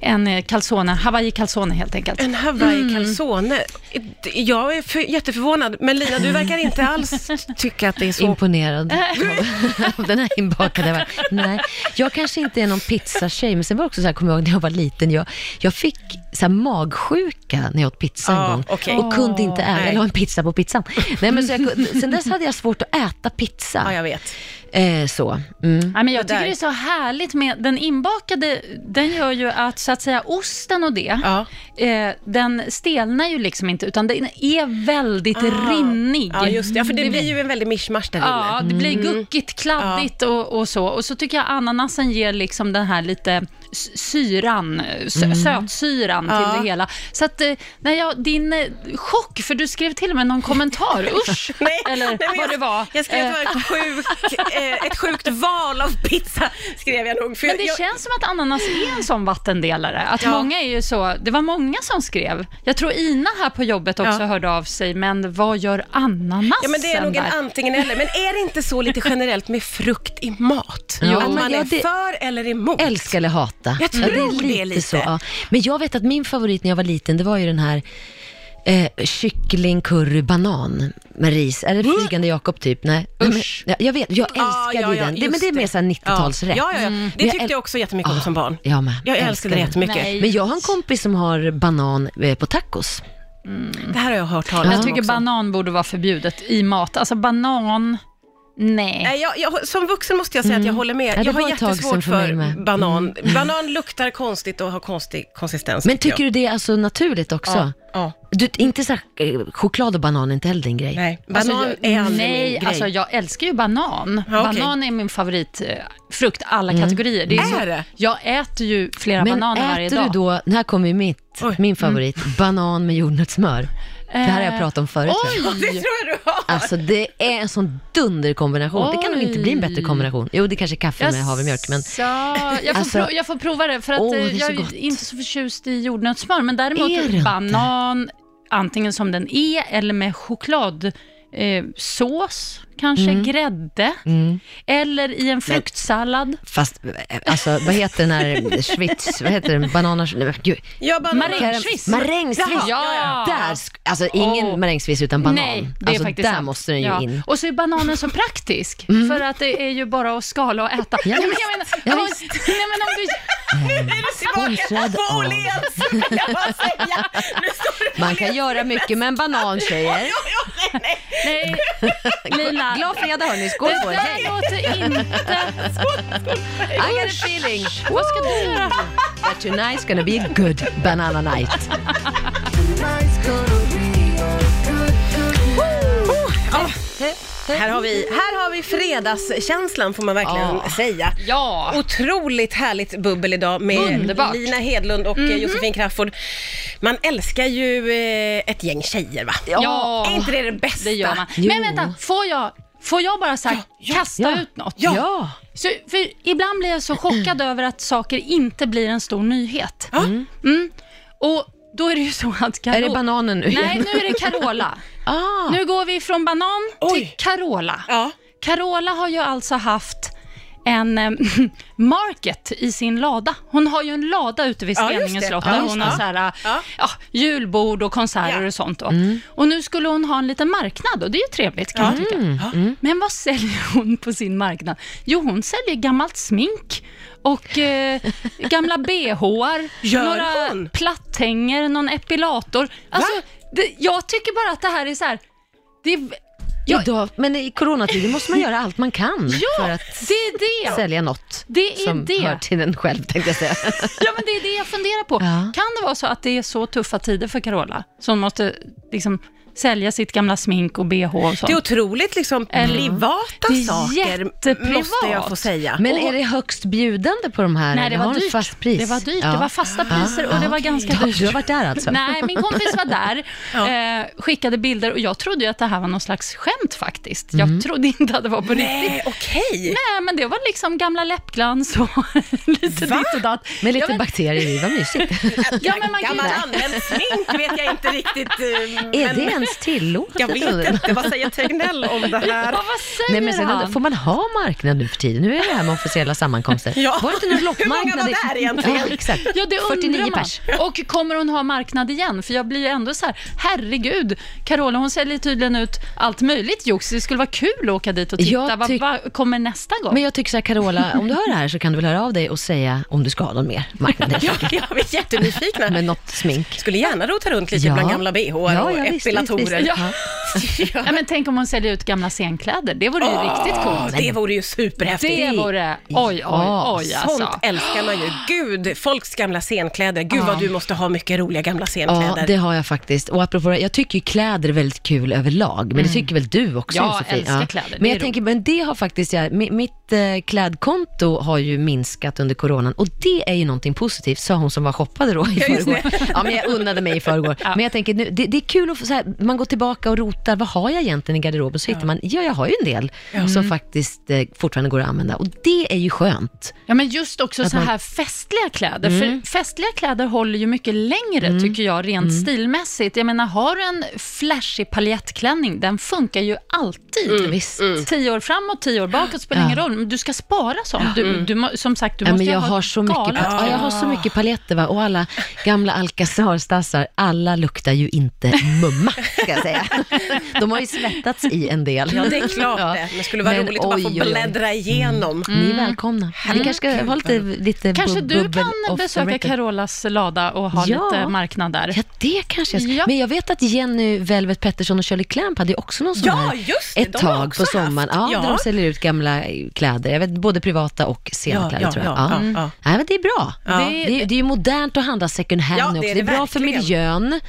Speaker 3: en eh, calzone, hawaii calzone helt enkelt.
Speaker 2: En hawaii calzone.
Speaker 3: Mm.
Speaker 2: Jag är för, jätteförvånad, men Lina, du verkar
Speaker 3: [laughs]
Speaker 2: inte alls tycka att det är så.
Speaker 4: Imponerad av- av [laughs] den här inbakade. hawaii. Nej, jag kanske inte är någon pizzatjej, men sen var det också så här, kommer jag ihåg när jag var liten, jag, jag fick så här magsjuka när jag åt pizza
Speaker 2: Ja,
Speaker 4: en gång
Speaker 2: Ah, okej.
Speaker 4: och kunde inte äta,
Speaker 2: nej.
Speaker 4: eller ha en pizza på pizzan. Nej, men
Speaker 3: [laughs]
Speaker 4: så jag, kunde- sen dess hade jag svårt att äta pizza.
Speaker 2: Ah, Ja, jag vet.
Speaker 4: Eh, så. Mm.
Speaker 3: Ja, men jag tycker
Speaker 2: där.
Speaker 3: det är så härligt med den inbakade, den gör ju att så att säga osten och det,
Speaker 2: Ja.
Speaker 3: eh, den stelnar ju liksom inte utan den är väldigt rinnig.
Speaker 2: Ah. Ja, just det. Ja, för det blir ju en väldig mischmasch där inne.
Speaker 3: Ja, det blir guckigt, kladdigt och, och så. Och så tycker jag ananasen ger liksom den här lite s- syran, sö- sötsyran
Speaker 2: Mm. Ja.
Speaker 3: till det hela. Så att, eh, när jag, din eh, chock, för du skrev till och med
Speaker 2: [laughs]
Speaker 3: någon kommentar, usch, [laughs] eller
Speaker 2: men
Speaker 3: vad
Speaker 2: jag,
Speaker 3: det var.
Speaker 2: Jag skrev att
Speaker 3: Eh,
Speaker 2: det var en sjuk, eh, ett sjukt val av pizza, skrev jag nog. För
Speaker 3: Men det
Speaker 2: jag, jag,
Speaker 3: känns som att ananas är en sån vattendelare. Att många är ju så, det var många som skrev. Jag tror Ina här på jobbet också
Speaker 2: Ja.
Speaker 3: hörde av sig, men vad gör ananasen
Speaker 2: Ja, men det är nog en
Speaker 3: där?
Speaker 2: antingen eller. Men är det inte så lite generellt med frukt i mat?
Speaker 4: Jo,
Speaker 2: att
Speaker 4: men
Speaker 2: man
Speaker 4: ja,
Speaker 2: är
Speaker 4: det-
Speaker 2: för eller emot?
Speaker 4: Älska eller hata.
Speaker 2: Jag tror det lite.
Speaker 4: ja. Men jag vet att min favorit när jag var liten, det var ju den här eh, kyckling, curry, banan med ris. Eller
Speaker 2: Mm.
Speaker 4: flygande Jakob typ. Nej.
Speaker 3: Usch.
Speaker 4: Men, jag- jag vet, jag
Speaker 2: Ah,
Speaker 4: älskade ju den. Det, men det är mer såhär 90-talsrätt.
Speaker 2: Ja, ja, ja.
Speaker 4: Men
Speaker 2: Det tyckte
Speaker 4: Mm. äl-
Speaker 2: jag också jättemycket om
Speaker 4: Ah,
Speaker 2: som barn.
Speaker 4: Jag med.
Speaker 2: Jag älskade det
Speaker 4: den.
Speaker 2: jättemycket.
Speaker 3: Nej.
Speaker 4: Men jag har en kompis som har banan eh, på tacos.
Speaker 2: Det här har jag hört talas om
Speaker 4: Ah,
Speaker 3: Jag tycker
Speaker 2: också.
Speaker 3: banan borde vara förbjudet i mat. Alltså banan, nej.
Speaker 2: Nej, jag, jag, som vuxen måste jag säga att jag håller med.
Speaker 4: det
Speaker 2: jag har
Speaker 4: Mm. var ett tag sedan
Speaker 2: jättesvårt
Speaker 4: för mig
Speaker 2: för,
Speaker 4: med. Mm.
Speaker 2: banan. Banan luktar konstigt och har konstig konsistens.
Speaker 4: Men tycker du det är alltså naturligt också?
Speaker 2: jag. Ja,
Speaker 4: Du, inte så här, eh, choklad och banan är inte heller din grej?
Speaker 2: nej. Banan
Speaker 3: Alltså, jag-
Speaker 2: är aldrig min
Speaker 3: Nej,
Speaker 2: grej.
Speaker 3: alltså jag älskar ju banan.
Speaker 2: Ja, okej.
Speaker 3: Banan är min favoritfrukt, alla kategorier. Det
Speaker 2: Är det?
Speaker 3: Jag äter ju flera
Speaker 4: Mm. Men
Speaker 3: bananer varje
Speaker 4: äter du
Speaker 3: dag.
Speaker 4: då, här kommer ju mitt,
Speaker 2: Oj. Mm.
Speaker 4: min favorit, banan med jordnötssmör. Det här har
Speaker 2: Eh,
Speaker 4: jag pratat om förut. tror jag.
Speaker 2: Ja, Det tror jag du har.
Speaker 4: Alltså det är en sån dunderkombination. Det kan nog inte bli en bättre
Speaker 3: Oj.
Speaker 4: kombination. Jo, det kanske är kaffe med havremjölk, men
Speaker 3: Så, jag, får
Speaker 4: Alltså-
Speaker 3: pro- jag får prova det, för att
Speaker 4: Åh, det är
Speaker 3: eh, jag
Speaker 4: så
Speaker 3: är
Speaker 4: gott.
Speaker 3: inte så förtjust i jordnötssmör, men
Speaker 4: Är det
Speaker 3: däremot
Speaker 4: inte?
Speaker 3: banan, antingen som den är eller med choklad. Eh, sås, kanske
Speaker 4: Mm.
Speaker 3: grädde, eller i en fruktsallad.
Speaker 4: fast, eh, alltså vad heter den här, schwitz, vad heter den, bananas, nej, men gud.
Speaker 2: Ja, banan.
Speaker 3: Marängsviss.
Speaker 4: Marängsviss!
Speaker 3: Ja.
Speaker 4: Där, sk- alltså ingen
Speaker 3: Åh.
Speaker 4: marängsviss utan banan.
Speaker 3: Nej, det är
Speaker 4: alltså,
Speaker 3: faktiskt
Speaker 4: där
Speaker 3: sant.
Speaker 4: måste den ju
Speaker 3: Ja.
Speaker 4: in. Mm.
Speaker 3: Och så är bananen så praktisk,
Speaker 4: [laughs]
Speaker 3: för att det är ju bara att skala och äta.
Speaker 4: Ja,
Speaker 3: Nej, men
Speaker 4: visst.
Speaker 3: jag menar,
Speaker 4: Ja,
Speaker 3: om-
Speaker 4: visst.
Speaker 3: nej, men om du,
Speaker 4: Mm. Sponsrad
Speaker 2: På
Speaker 4: av.
Speaker 2: Åhléns, vill jag bara säga. Nu står det på
Speaker 4: Man kan göra mycket med en banan tjejer. [laughs]
Speaker 3: nej, Lina.
Speaker 4: Glad fredag hörni, skål
Speaker 3: Det
Speaker 4: på er.
Speaker 3: där
Speaker 4: Hej.
Speaker 3: låter
Speaker 4: [laughs]
Speaker 3: inte...
Speaker 4: I got a feeling.
Speaker 3: Vad ska du göra?
Speaker 4: That tonight's gonna be a good banana night.
Speaker 2: Här har vi, här har vi fredagskänslan får man verkligen
Speaker 3: Ah.
Speaker 4: Ja.
Speaker 2: säga.
Speaker 3: Ja.
Speaker 2: Otroligt härligt bubbel idag med
Speaker 3: Underbart. Mhm.
Speaker 2: Lina Hedlund och eh, Josefin Crawford. Man älskar ju eh, ett gäng tjejer va?
Speaker 3: Ja.
Speaker 2: Är inte det det bästa?
Speaker 3: Det gör man.
Speaker 4: Jo.
Speaker 3: Men vänta, får jag, får jag bara så här, kasta ut något?
Speaker 4: Ja.
Speaker 3: Så, för ibland blir jag
Speaker 2: [clears throat]
Speaker 3: så chockad över att saker inte blir en stor nyhet.
Speaker 2: Ja.
Speaker 3: Mm. Och då är det ju så att Carola...
Speaker 4: Är det bananen nu
Speaker 3: Nej,
Speaker 4: igen?
Speaker 3: nu är det Carola.
Speaker 4: [laughs] Ah.
Speaker 3: Nu går vi från banan
Speaker 2: Oj.
Speaker 3: till Carola.
Speaker 2: Ja.
Speaker 3: Carola har ju alltså haft en eh, [laughs] market i sin lada. Hon har ju en lada ute vid
Speaker 2: Ja, just
Speaker 3: Steningens
Speaker 2: det.
Speaker 3: slott
Speaker 2: Ja,
Speaker 3: där
Speaker 2: just
Speaker 3: hon
Speaker 2: det.
Speaker 3: har så här, eh,
Speaker 2: Ja.
Speaker 3: ja, julbord och konserter
Speaker 2: Ja.
Speaker 3: och sånt. Då. Och nu skulle hon ha en liten marknad och det är ju trevligt kan man tycka.
Speaker 2: Mm.
Speaker 3: Men vad säljer hon på sin marknad? Jo, hon säljer gammalt smink och eh,
Speaker 2: [laughs]
Speaker 3: gamla bhar,
Speaker 2: Gör
Speaker 3: några
Speaker 2: hon?
Speaker 3: platthänger, någon epilator. Alltså, det, jag tycker bara att det här är så här... Det, är- jag,
Speaker 4: Idag, men i coronatider måste man göra allt man kan
Speaker 3: ja,
Speaker 4: för att
Speaker 3: det är det.
Speaker 4: sälja något
Speaker 3: Det är
Speaker 4: som
Speaker 3: det.
Speaker 4: hör till en själv, tänkte
Speaker 3: [laughs]
Speaker 4: jag säga.
Speaker 3: Ja, men det är det jag funderar på.
Speaker 4: [laughs] Ja.
Speaker 3: Kan det vara så att det är så tuffa tider för Carola, så hon måste liksom sälja sitt gamla smink och bh och sånt?
Speaker 2: Det är otroligt liksom privata
Speaker 3: Mm. Det är
Speaker 2: saker,
Speaker 3: jätteprivat.
Speaker 2: måste jag få säga.
Speaker 4: Men är det högst bjudande på de här?
Speaker 3: Nej, det
Speaker 4: eller
Speaker 3: var
Speaker 4: har de
Speaker 3: dyrt.
Speaker 4: fast pris?
Speaker 3: Det var dyrt.
Speaker 4: Ja.
Speaker 3: Det var fasta priser och det var ganska
Speaker 4: Ja,
Speaker 3: dyrt.
Speaker 4: [laughs] Du har varit där alltså?
Speaker 3: Nej, min kompis var där,
Speaker 4: [laughs]
Speaker 3: eh, skickade bilder och jag trodde ju att det här var någon slags skämt faktiskt.
Speaker 4: Mm.
Speaker 3: Jag trodde inte att det var på riktigt.
Speaker 2: Eh, Okej.
Speaker 3: Nej, men det var liksom gamla läppglans och [laughs] lite
Speaker 2: Va?
Speaker 3: ditt och datt.
Speaker 4: Med
Speaker 3: ja,
Speaker 4: lite
Speaker 3: men,
Speaker 4: bakterier i, vad
Speaker 3: [laughs]
Speaker 4: mysigt.
Speaker 3: ja, men man kan ju
Speaker 2: Gammal använt smink vet jag inte riktigt. eh,
Speaker 4: Är
Speaker 2: men-
Speaker 4: det ens tillåtet?
Speaker 2: Jag vet inte, vad säger Tegnell om det här?
Speaker 3: Ja, vad säger
Speaker 4: Nej, men sen undrar-
Speaker 3: han?
Speaker 4: får man ha marknad nu för tiden? Nu är det här med
Speaker 3: [laughs]
Speaker 4: officiella sammankomster.
Speaker 2: Ja.
Speaker 4: Var det inte någon
Speaker 2: Hur många
Speaker 4: loppmarknad?
Speaker 2: var där egentligen?
Speaker 4: Ja, exakt.
Speaker 3: Ja, det undrar
Speaker 4: 49
Speaker 3: man.
Speaker 4: pers.
Speaker 3: [laughs] Och kommer hon ha marknad igen? För jag blir ju ändå så här, herregud, Carola hon säljer tydligen ut allt möjligt jox. Det skulle vara kul att åka dit och titta.
Speaker 4: Jag
Speaker 3: Vad
Speaker 4: tyck-
Speaker 3: vad kommer nästa gång?
Speaker 4: Men jag tycker så här, Carola, om du hör det här så kan du väl höra av dig och säga om du ska ha någon mer
Speaker 3: [laughs]
Speaker 4: marknad helt
Speaker 2: Ja,
Speaker 4: enkelt.
Speaker 2: jag är jättenyfikna.
Speaker 4: Med något smink.
Speaker 2: Skulle gärna rota runt lite
Speaker 3: Typ
Speaker 4: Ja.
Speaker 2: bland gamla bh och
Speaker 4: Ja, ja, visst,
Speaker 2: epilatorer.
Speaker 4: visst, visst.
Speaker 3: Ja.
Speaker 4: [laughs]
Speaker 3: Ja, men tänk om hon säljer ut gamla scenkläder. Det vore ju riktigt
Speaker 2: Ja,
Speaker 3: coolt.
Speaker 2: det vore ju superhäftigt.
Speaker 3: Det vore... Oj, oj,
Speaker 4: Ja,
Speaker 3: oj
Speaker 2: Sånt
Speaker 3: alltså.
Speaker 2: älskar man ju. Gud, folks gamla scenkläder. Gud vad du måste ha mycket roliga gamla
Speaker 4: Ja,
Speaker 2: scenkläder.
Speaker 4: det har jag faktiskt. Och apropå det, jag tycker ju kläder är väldigt kul överlag, men det tycker väl du också
Speaker 3: Mm. Jag
Speaker 4: Josefin?
Speaker 3: älskar kläder, det
Speaker 4: Men
Speaker 3: är
Speaker 4: jag tänker, men det har faktiskt jag, mi- mitt eh, klädkonto har ju minskat under coronan och det är ju någonting positivt, sa hon som var shoppade då i förrgår. Ja, men jag unnade mig i förrgår. Men jag tänker, nu, det, det är kul att få så här, man går tillbaka och rotar, vad har jag egentligen i garderoben? Så hittar man, ja jag har ju en del
Speaker 3: Mm.
Speaker 4: som faktiskt eh, fortfarande går att använda och det är ju skönt.
Speaker 3: Ja, men just också så
Speaker 4: man-
Speaker 3: här festliga kläder.
Speaker 4: Mm.
Speaker 3: För festliga kläder håller ju mycket längre, tycker jag, rent stilmässigt. Jag menar, har du en flashig paljettklänning, den funkar ju alltid.
Speaker 4: Visst.
Speaker 3: Tio år framåt, tio år bakåt spelar ingen roll, men du ska spara sånt. Du, du, må- som sagt, du
Speaker 4: Mm. Ja,
Speaker 3: måste
Speaker 4: men
Speaker 3: ju
Speaker 4: jag
Speaker 3: ha
Speaker 4: har
Speaker 3: ett
Speaker 4: så mycket,
Speaker 3: galet
Speaker 4: ja, jag har så
Speaker 2: Ah.
Speaker 4: mycket paletter va? och alla gamla Alcazar-stassar, alla luktar ju inte mumma, ska
Speaker 2: [laughs]
Speaker 4: jag säga. De har ju svettats i en del.
Speaker 2: Ja, det är klart
Speaker 4: Ja.
Speaker 2: det. Det skulle vara
Speaker 4: Men
Speaker 2: roligt att bara få
Speaker 4: oj, Mm. oj, oj.
Speaker 2: bläddra Mm. igenom.
Speaker 4: Ni är välkomna. Vi kanske ska ha lite, lite
Speaker 3: Kanske
Speaker 4: bub-
Speaker 3: du
Speaker 4: bubbel
Speaker 3: kan
Speaker 4: off the
Speaker 3: besöka
Speaker 4: record.
Speaker 3: Carolas lada och ha
Speaker 4: Ja.
Speaker 3: lite marknad där.
Speaker 4: Ja, det kanske jag ska.
Speaker 3: Ja.
Speaker 4: Men jag vet att Jenny Velvet Pettersson och Shirley Clamp hade ju också någon sån
Speaker 2: Ja,
Speaker 4: här
Speaker 2: just det.
Speaker 4: ett
Speaker 2: De har
Speaker 4: tag
Speaker 2: också
Speaker 4: på sommaren. Ja,
Speaker 2: haft. Ja.
Speaker 4: Där de säljer ut gamla kläder. Jag vet, både privata och scenkläder
Speaker 2: Ja, ja,
Speaker 4: tror jag.
Speaker 2: ja, ja, ja.
Speaker 4: Nej, men det är bra.
Speaker 2: Ja.
Speaker 4: Det, är, det är ju modernt att handla second hand
Speaker 2: Ja,
Speaker 4: nu
Speaker 2: det
Speaker 4: också.
Speaker 2: är
Speaker 4: Det är,
Speaker 2: det
Speaker 4: bra för
Speaker 2: verkligen.
Speaker 4: miljön.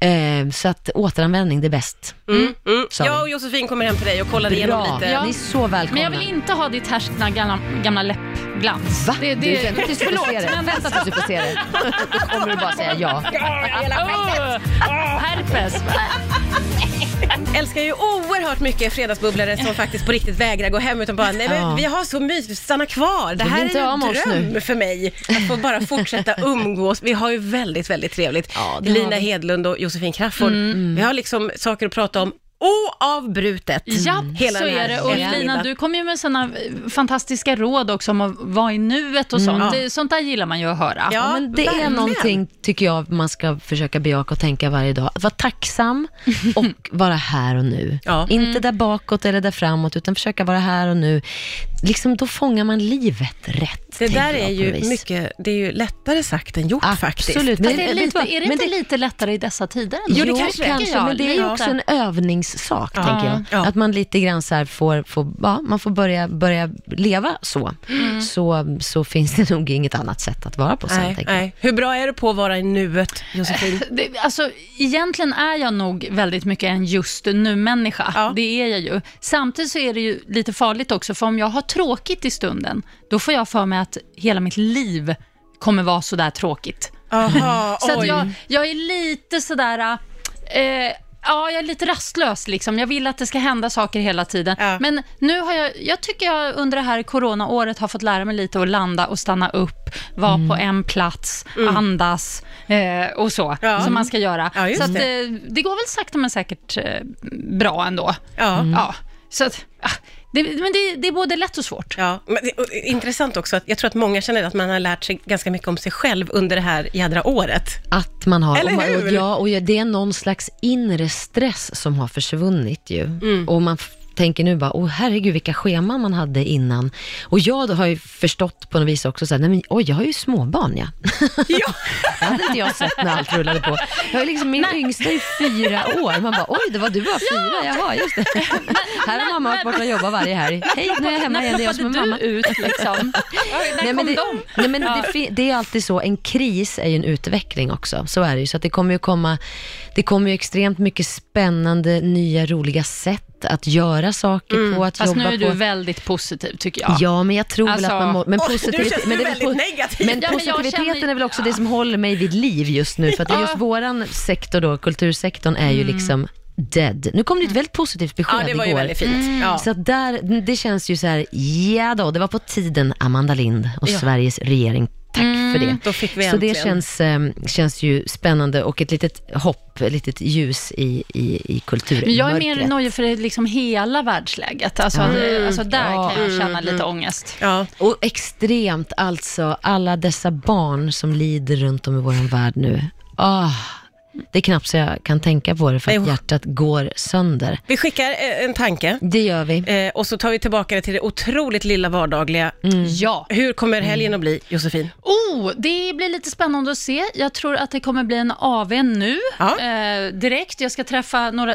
Speaker 4: Eh, så att återanvändning, det är bäst.
Speaker 2: Mm.
Speaker 4: Sa
Speaker 2: Jag
Speaker 4: vi.
Speaker 2: och Josefin kommer hem till dig och kollar igenom
Speaker 4: Bra,
Speaker 2: lite.
Speaker 4: ni är så
Speaker 3: Men
Speaker 4: välkomna.
Speaker 3: jag vill inte ha ditt härskna gamla, gamla läppglans.
Speaker 4: Va?
Speaker 3: Det, det,
Speaker 4: du känner att du skulle få se det?
Speaker 3: men
Speaker 4: Vänta tills du får se det. [laughs] Då kommer du bara säga ja.
Speaker 3: [laughs] Åh,
Speaker 4: [laughs]
Speaker 3: herpes.
Speaker 2: älskar ju oerhört mycket fredagsbubblare som faktiskt på riktigt vägrar gå hem utan bara, nej men
Speaker 4: Ja.
Speaker 2: vi har så mysigt, stanna kvar. Det
Speaker 4: Vill
Speaker 2: här är
Speaker 4: inte
Speaker 2: ju
Speaker 4: ha
Speaker 2: en
Speaker 4: med oss
Speaker 2: dröm
Speaker 4: nu.
Speaker 2: för mig, att få bara fortsätta
Speaker 4: [laughs]
Speaker 2: umgås. Vi har ju väldigt, väldigt trevligt.
Speaker 4: Ja, det har
Speaker 2: Lina
Speaker 4: vi. Mm.
Speaker 2: Hedlund och Josefin Crafoord. Vi har liksom saker att prata om oavbrutet.
Speaker 3: Ja,
Speaker 2: Hela
Speaker 3: så
Speaker 2: den här
Speaker 3: är det. Och Lina,
Speaker 2: eftermiddagen.
Speaker 3: du kommer ju med såna eh, fantastiska råd också om att vara i nuet och sånt.
Speaker 2: Ja.
Speaker 3: Det, sånt där gillar man ju att höra.
Speaker 2: Ja,
Speaker 4: Mm. Ja, men det är
Speaker 2: verkligen.
Speaker 4: någonting, tycker jag, man ska försöka bejaka och tänka varje dag. Att vara tacksam och vara här och nu.
Speaker 2: Ja.
Speaker 4: Inte där bakåt eller där framåt, utan försöka vara här och nu. Liksom, då fångar man livet rätt.
Speaker 2: Det
Speaker 4: tänker
Speaker 2: där
Speaker 4: jag
Speaker 2: är
Speaker 4: på
Speaker 2: ju
Speaker 4: något vis.
Speaker 2: mycket, det är ju lättare sagt än gjort faktiskt.
Speaker 4: Absolut.
Speaker 3: Fast det är,
Speaker 4: vet du
Speaker 3: lite,
Speaker 4: vad?
Speaker 3: är det
Speaker 4: Men
Speaker 3: inte lite lättare i dessa tider? ändå?
Speaker 4: Jo, det kanske, kanske men det är ju
Speaker 3: Lite.
Speaker 4: också en övningssak, tänker jag.
Speaker 2: Ja.
Speaker 4: Att man lite grann så här får, får, ja, man får börja, börja leva så. så. Så finns det nog inget annat sätt att vara på sen,
Speaker 2: Nej,
Speaker 4: tänker jag.
Speaker 2: nej. Hur bra är du på att vara i nuet, Josefin?
Speaker 4: [laughs]
Speaker 3: Det, alltså, egentligen är jag nog väldigt mycket en just nu-människa.
Speaker 2: Ja.
Speaker 3: Det är jag ju. Samtidigt så är det ju lite farligt också, för om jag har tråkigt i stunden, då får jag för mig att hela mitt liv kommer vara sådär tråkigt.
Speaker 2: Aha,
Speaker 3: Så att
Speaker 2: oj.
Speaker 3: jag, jag är lite sådär... Eh, Ja, jag är lite rastlös. Liksom. Jag vill att det ska hända saker hela tiden.
Speaker 2: Ja.
Speaker 3: Men nu har jag, jag tycker jag under det här coronaåret har fått lära mig lite att landa och stanna upp, vara på en plats, andas eh, och så,
Speaker 2: Ja.
Speaker 3: som man ska göra.
Speaker 2: Ja, just
Speaker 3: så att,
Speaker 2: det.
Speaker 3: eh, det går väl sakta men säkert eh, bra ändå.
Speaker 2: Ja.
Speaker 3: Ja, så att, ah, Det, men det, det är både lätt och svårt.
Speaker 2: Ja, men det, och, eh, intressant också att jag tror att många känner att man har lärt sig ganska mycket om sig själv under det här jädra året.
Speaker 4: Att man har,
Speaker 2: Eller
Speaker 4: och man, och,
Speaker 2: hur?
Speaker 4: ja, och ja, det är någon slags inre stress som har försvunnit ju.
Speaker 2: Mm.
Speaker 4: Och man f- tänker nu bara, åh herregud vilka scheman man hade innan. Och jag har ju förstått på något vis också, så här, nej men oj, jag har ju småbarn ja.
Speaker 2: Ja.
Speaker 4: [laughs] det hade inte jag sett när allt rullade på. Jag är liksom, min yngsta är fyra år, man bara, oj det var du var fyra, jaha just det. här har mamma varit borta och jobbat varje helg. Hej, nu är jag hemma igen, det är jag som är
Speaker 3: du
Speaker 4: mamma.
Speaker 3: ut liksom? Oj, När
Speaker 4: Nej,
Speaker 3: kom
Speaker 4: men det,
Speaker 3: de?
Speaker 4: nej, men det, fin- det är alltid så, en kris är ju en utveckling också. Så är det ju. Så att det kommer ju komma, det kommer ju extremt mycket spännande, nya, roliga sätt att göra saker på, att
Speaker 3: Mm, Fast nu
Speaker 4: jobba
Speaker 3: är du
Speaker 4: på.
Speaker 3: väldigt positiv tycker jag.
Speaker 4: Ja. men jag tror väl
Speaker 3: Alltså-
Speaker 4: att man må, men
Speaker 2: Oj, du
Speaker 4: positivit-
Speaker 2: känns
Speaker 4: men det är väl
Speaker 2: väldigt negativ.
Speaker 4: Men
Speaker 3: Ja, men jag
Speaker 4: positiviteten
Speaker 3: känner-
Speaker 4: är väl också det som håller mig vid liv just nu, för att just våran sektor då, kultursektorn, är
Speaker 3: Mm.
Speaker 4: ju liksom dead. Nu kom det ett väldigt positivt besked
Speaker 2: Ja, det var ju
Speaker 4: igår.
Speaker 2: väldigt fint. Mm. Ja.
Speaker 4: Så att där, det känns ju så här, ja då, det var på tiden Amanda Lind och
Speaker 2: Ja. Mm,
Speaker 4: Sveriges regering. Tack för det.
Speaker 2: Då fick vi
Speaker 4: så det
Speaker 2: äntligen.
Speaker 4: känns, eh, känns ju spännande och ett litet hopp, ett litet ljus i, i, i kulturen.
Speaker 3: Men jag är mer
Speaker 4: mörkret.
Speaker 3: nojig för det liksom hela världsläget. Alltså, det, alltså där
Speaker 4: Ja.
Speaker 3: kan jag
Speaker 2: Mm,
Speaker 3: känna lite ångest.
Speaker 2: Ja.
Speaker 4: Och extremt alltså, alla dessa barn som lider runt om i vår värld nu. Ah, det är knappt så jag kan tänka på det för att
Speaker 2: Nej, usch.
Speaker 4: hjärtat går sönder.
Speaker 2: Vi skickar eh, en tanke
Speaker 4: Det gör vi.
Speaker 2: eh, och så tar vi tillbaka det till det otroligt lilla vardagliga.
Speaker 4: Mm.
Speaker 3: Mm. Ja.
Speaker 2: Hur kommer helgen att bli, Josefin?
Speaker 3: Oh, det blir lite spännande att se. Jag tror att det kommer bli en AV nu
Speaker 2: Ja.
Speaker 3: eh, direkt. Jag ska träffa några,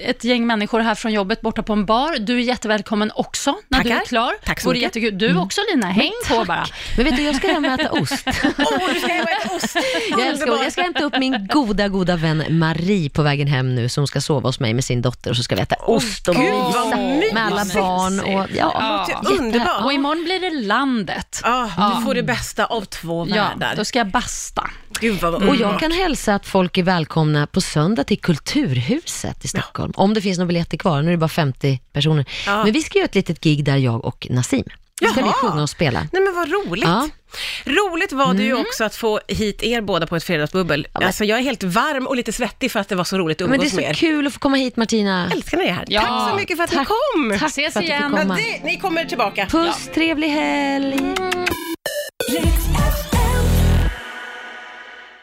Speaker 3: ett gäng människor här från jobbet borta på en bar. Du är jättevälkommen också när du är
Speaker 2: Tackar.
Speaker 3: klar.
Speaker 2: Tack så
Speaker 3: Vore
Speaker 2: mycket.
Speaker 3: jättekul. Du också Lina, häng på bara.
Speaker 4: Mm. Men vet du, jag ska hem och äta ost.
Speaker 2: Åh, du ska hem och äta ost!
Speaker 4: Jag, älskar, och jag ska hämta upp min goda, goda vän Marie på vägen hem nu, som ska sova hos mig med sin dotter och så ska vi äta ost och
Speaker 2: Gud,
Speaker 4: mysa
Speaker 2: vad mysigt.
Speaker 4: med alla barn. Och, ja,
Speaker 2: Det
Speaker 4: jätte-
Speaker 2: är underbart!
Speaker 3: Och imorgon blir det landet.
Speaker 2: Ah, Du får det bästa av två
Speaker 3: Ja,
Speaker 2: världar.
Speaker 3: då ska jag basta.
Speaker 2: Gud vad
Speaker 4: Och jag kan hälsa att folk är välkomna på söndag till Kulturhuset i Stockholm. Om det finns några biljetter kvar, nu är det bara 50 personer.
Speaker 2: Ja.
Speaker 4: Men vi ska göra ett litet gig där jag och Nassim. Då ska
Speaker 2: Jaha.
Speaker 4: vi sjunga och spela.
Speaker 2: Nej men vad roligt.
Speaker 4: Ja. Mm.
Speaker 2: Roligt var det ju också att få hit er båda på ett fredagsbubbel. Alltså jag är helt varm och lite svettig för att det var så roligt att
Speaker 4: Men det är
Speaker 2: umgås med
Speaker 4: så
Speaker 2: er.
Speaker 4: kul att få komma hit Martina.
Speaker 2: Jag älskar ni er här.
Speaker 3: Ja.
Speaker 2: Tack så
Speaker 3: né?
Speaker 2: mycket för att ni kom.
Speaker 4: Tack
Speaker 3: Ses
Speaker 4: för att du fick
Speaker 3: igen.
Speaker 4: komma.
Speaker 2: Det, ni kommer tillbaka.
Speaker 4: Puss, trevlig helg.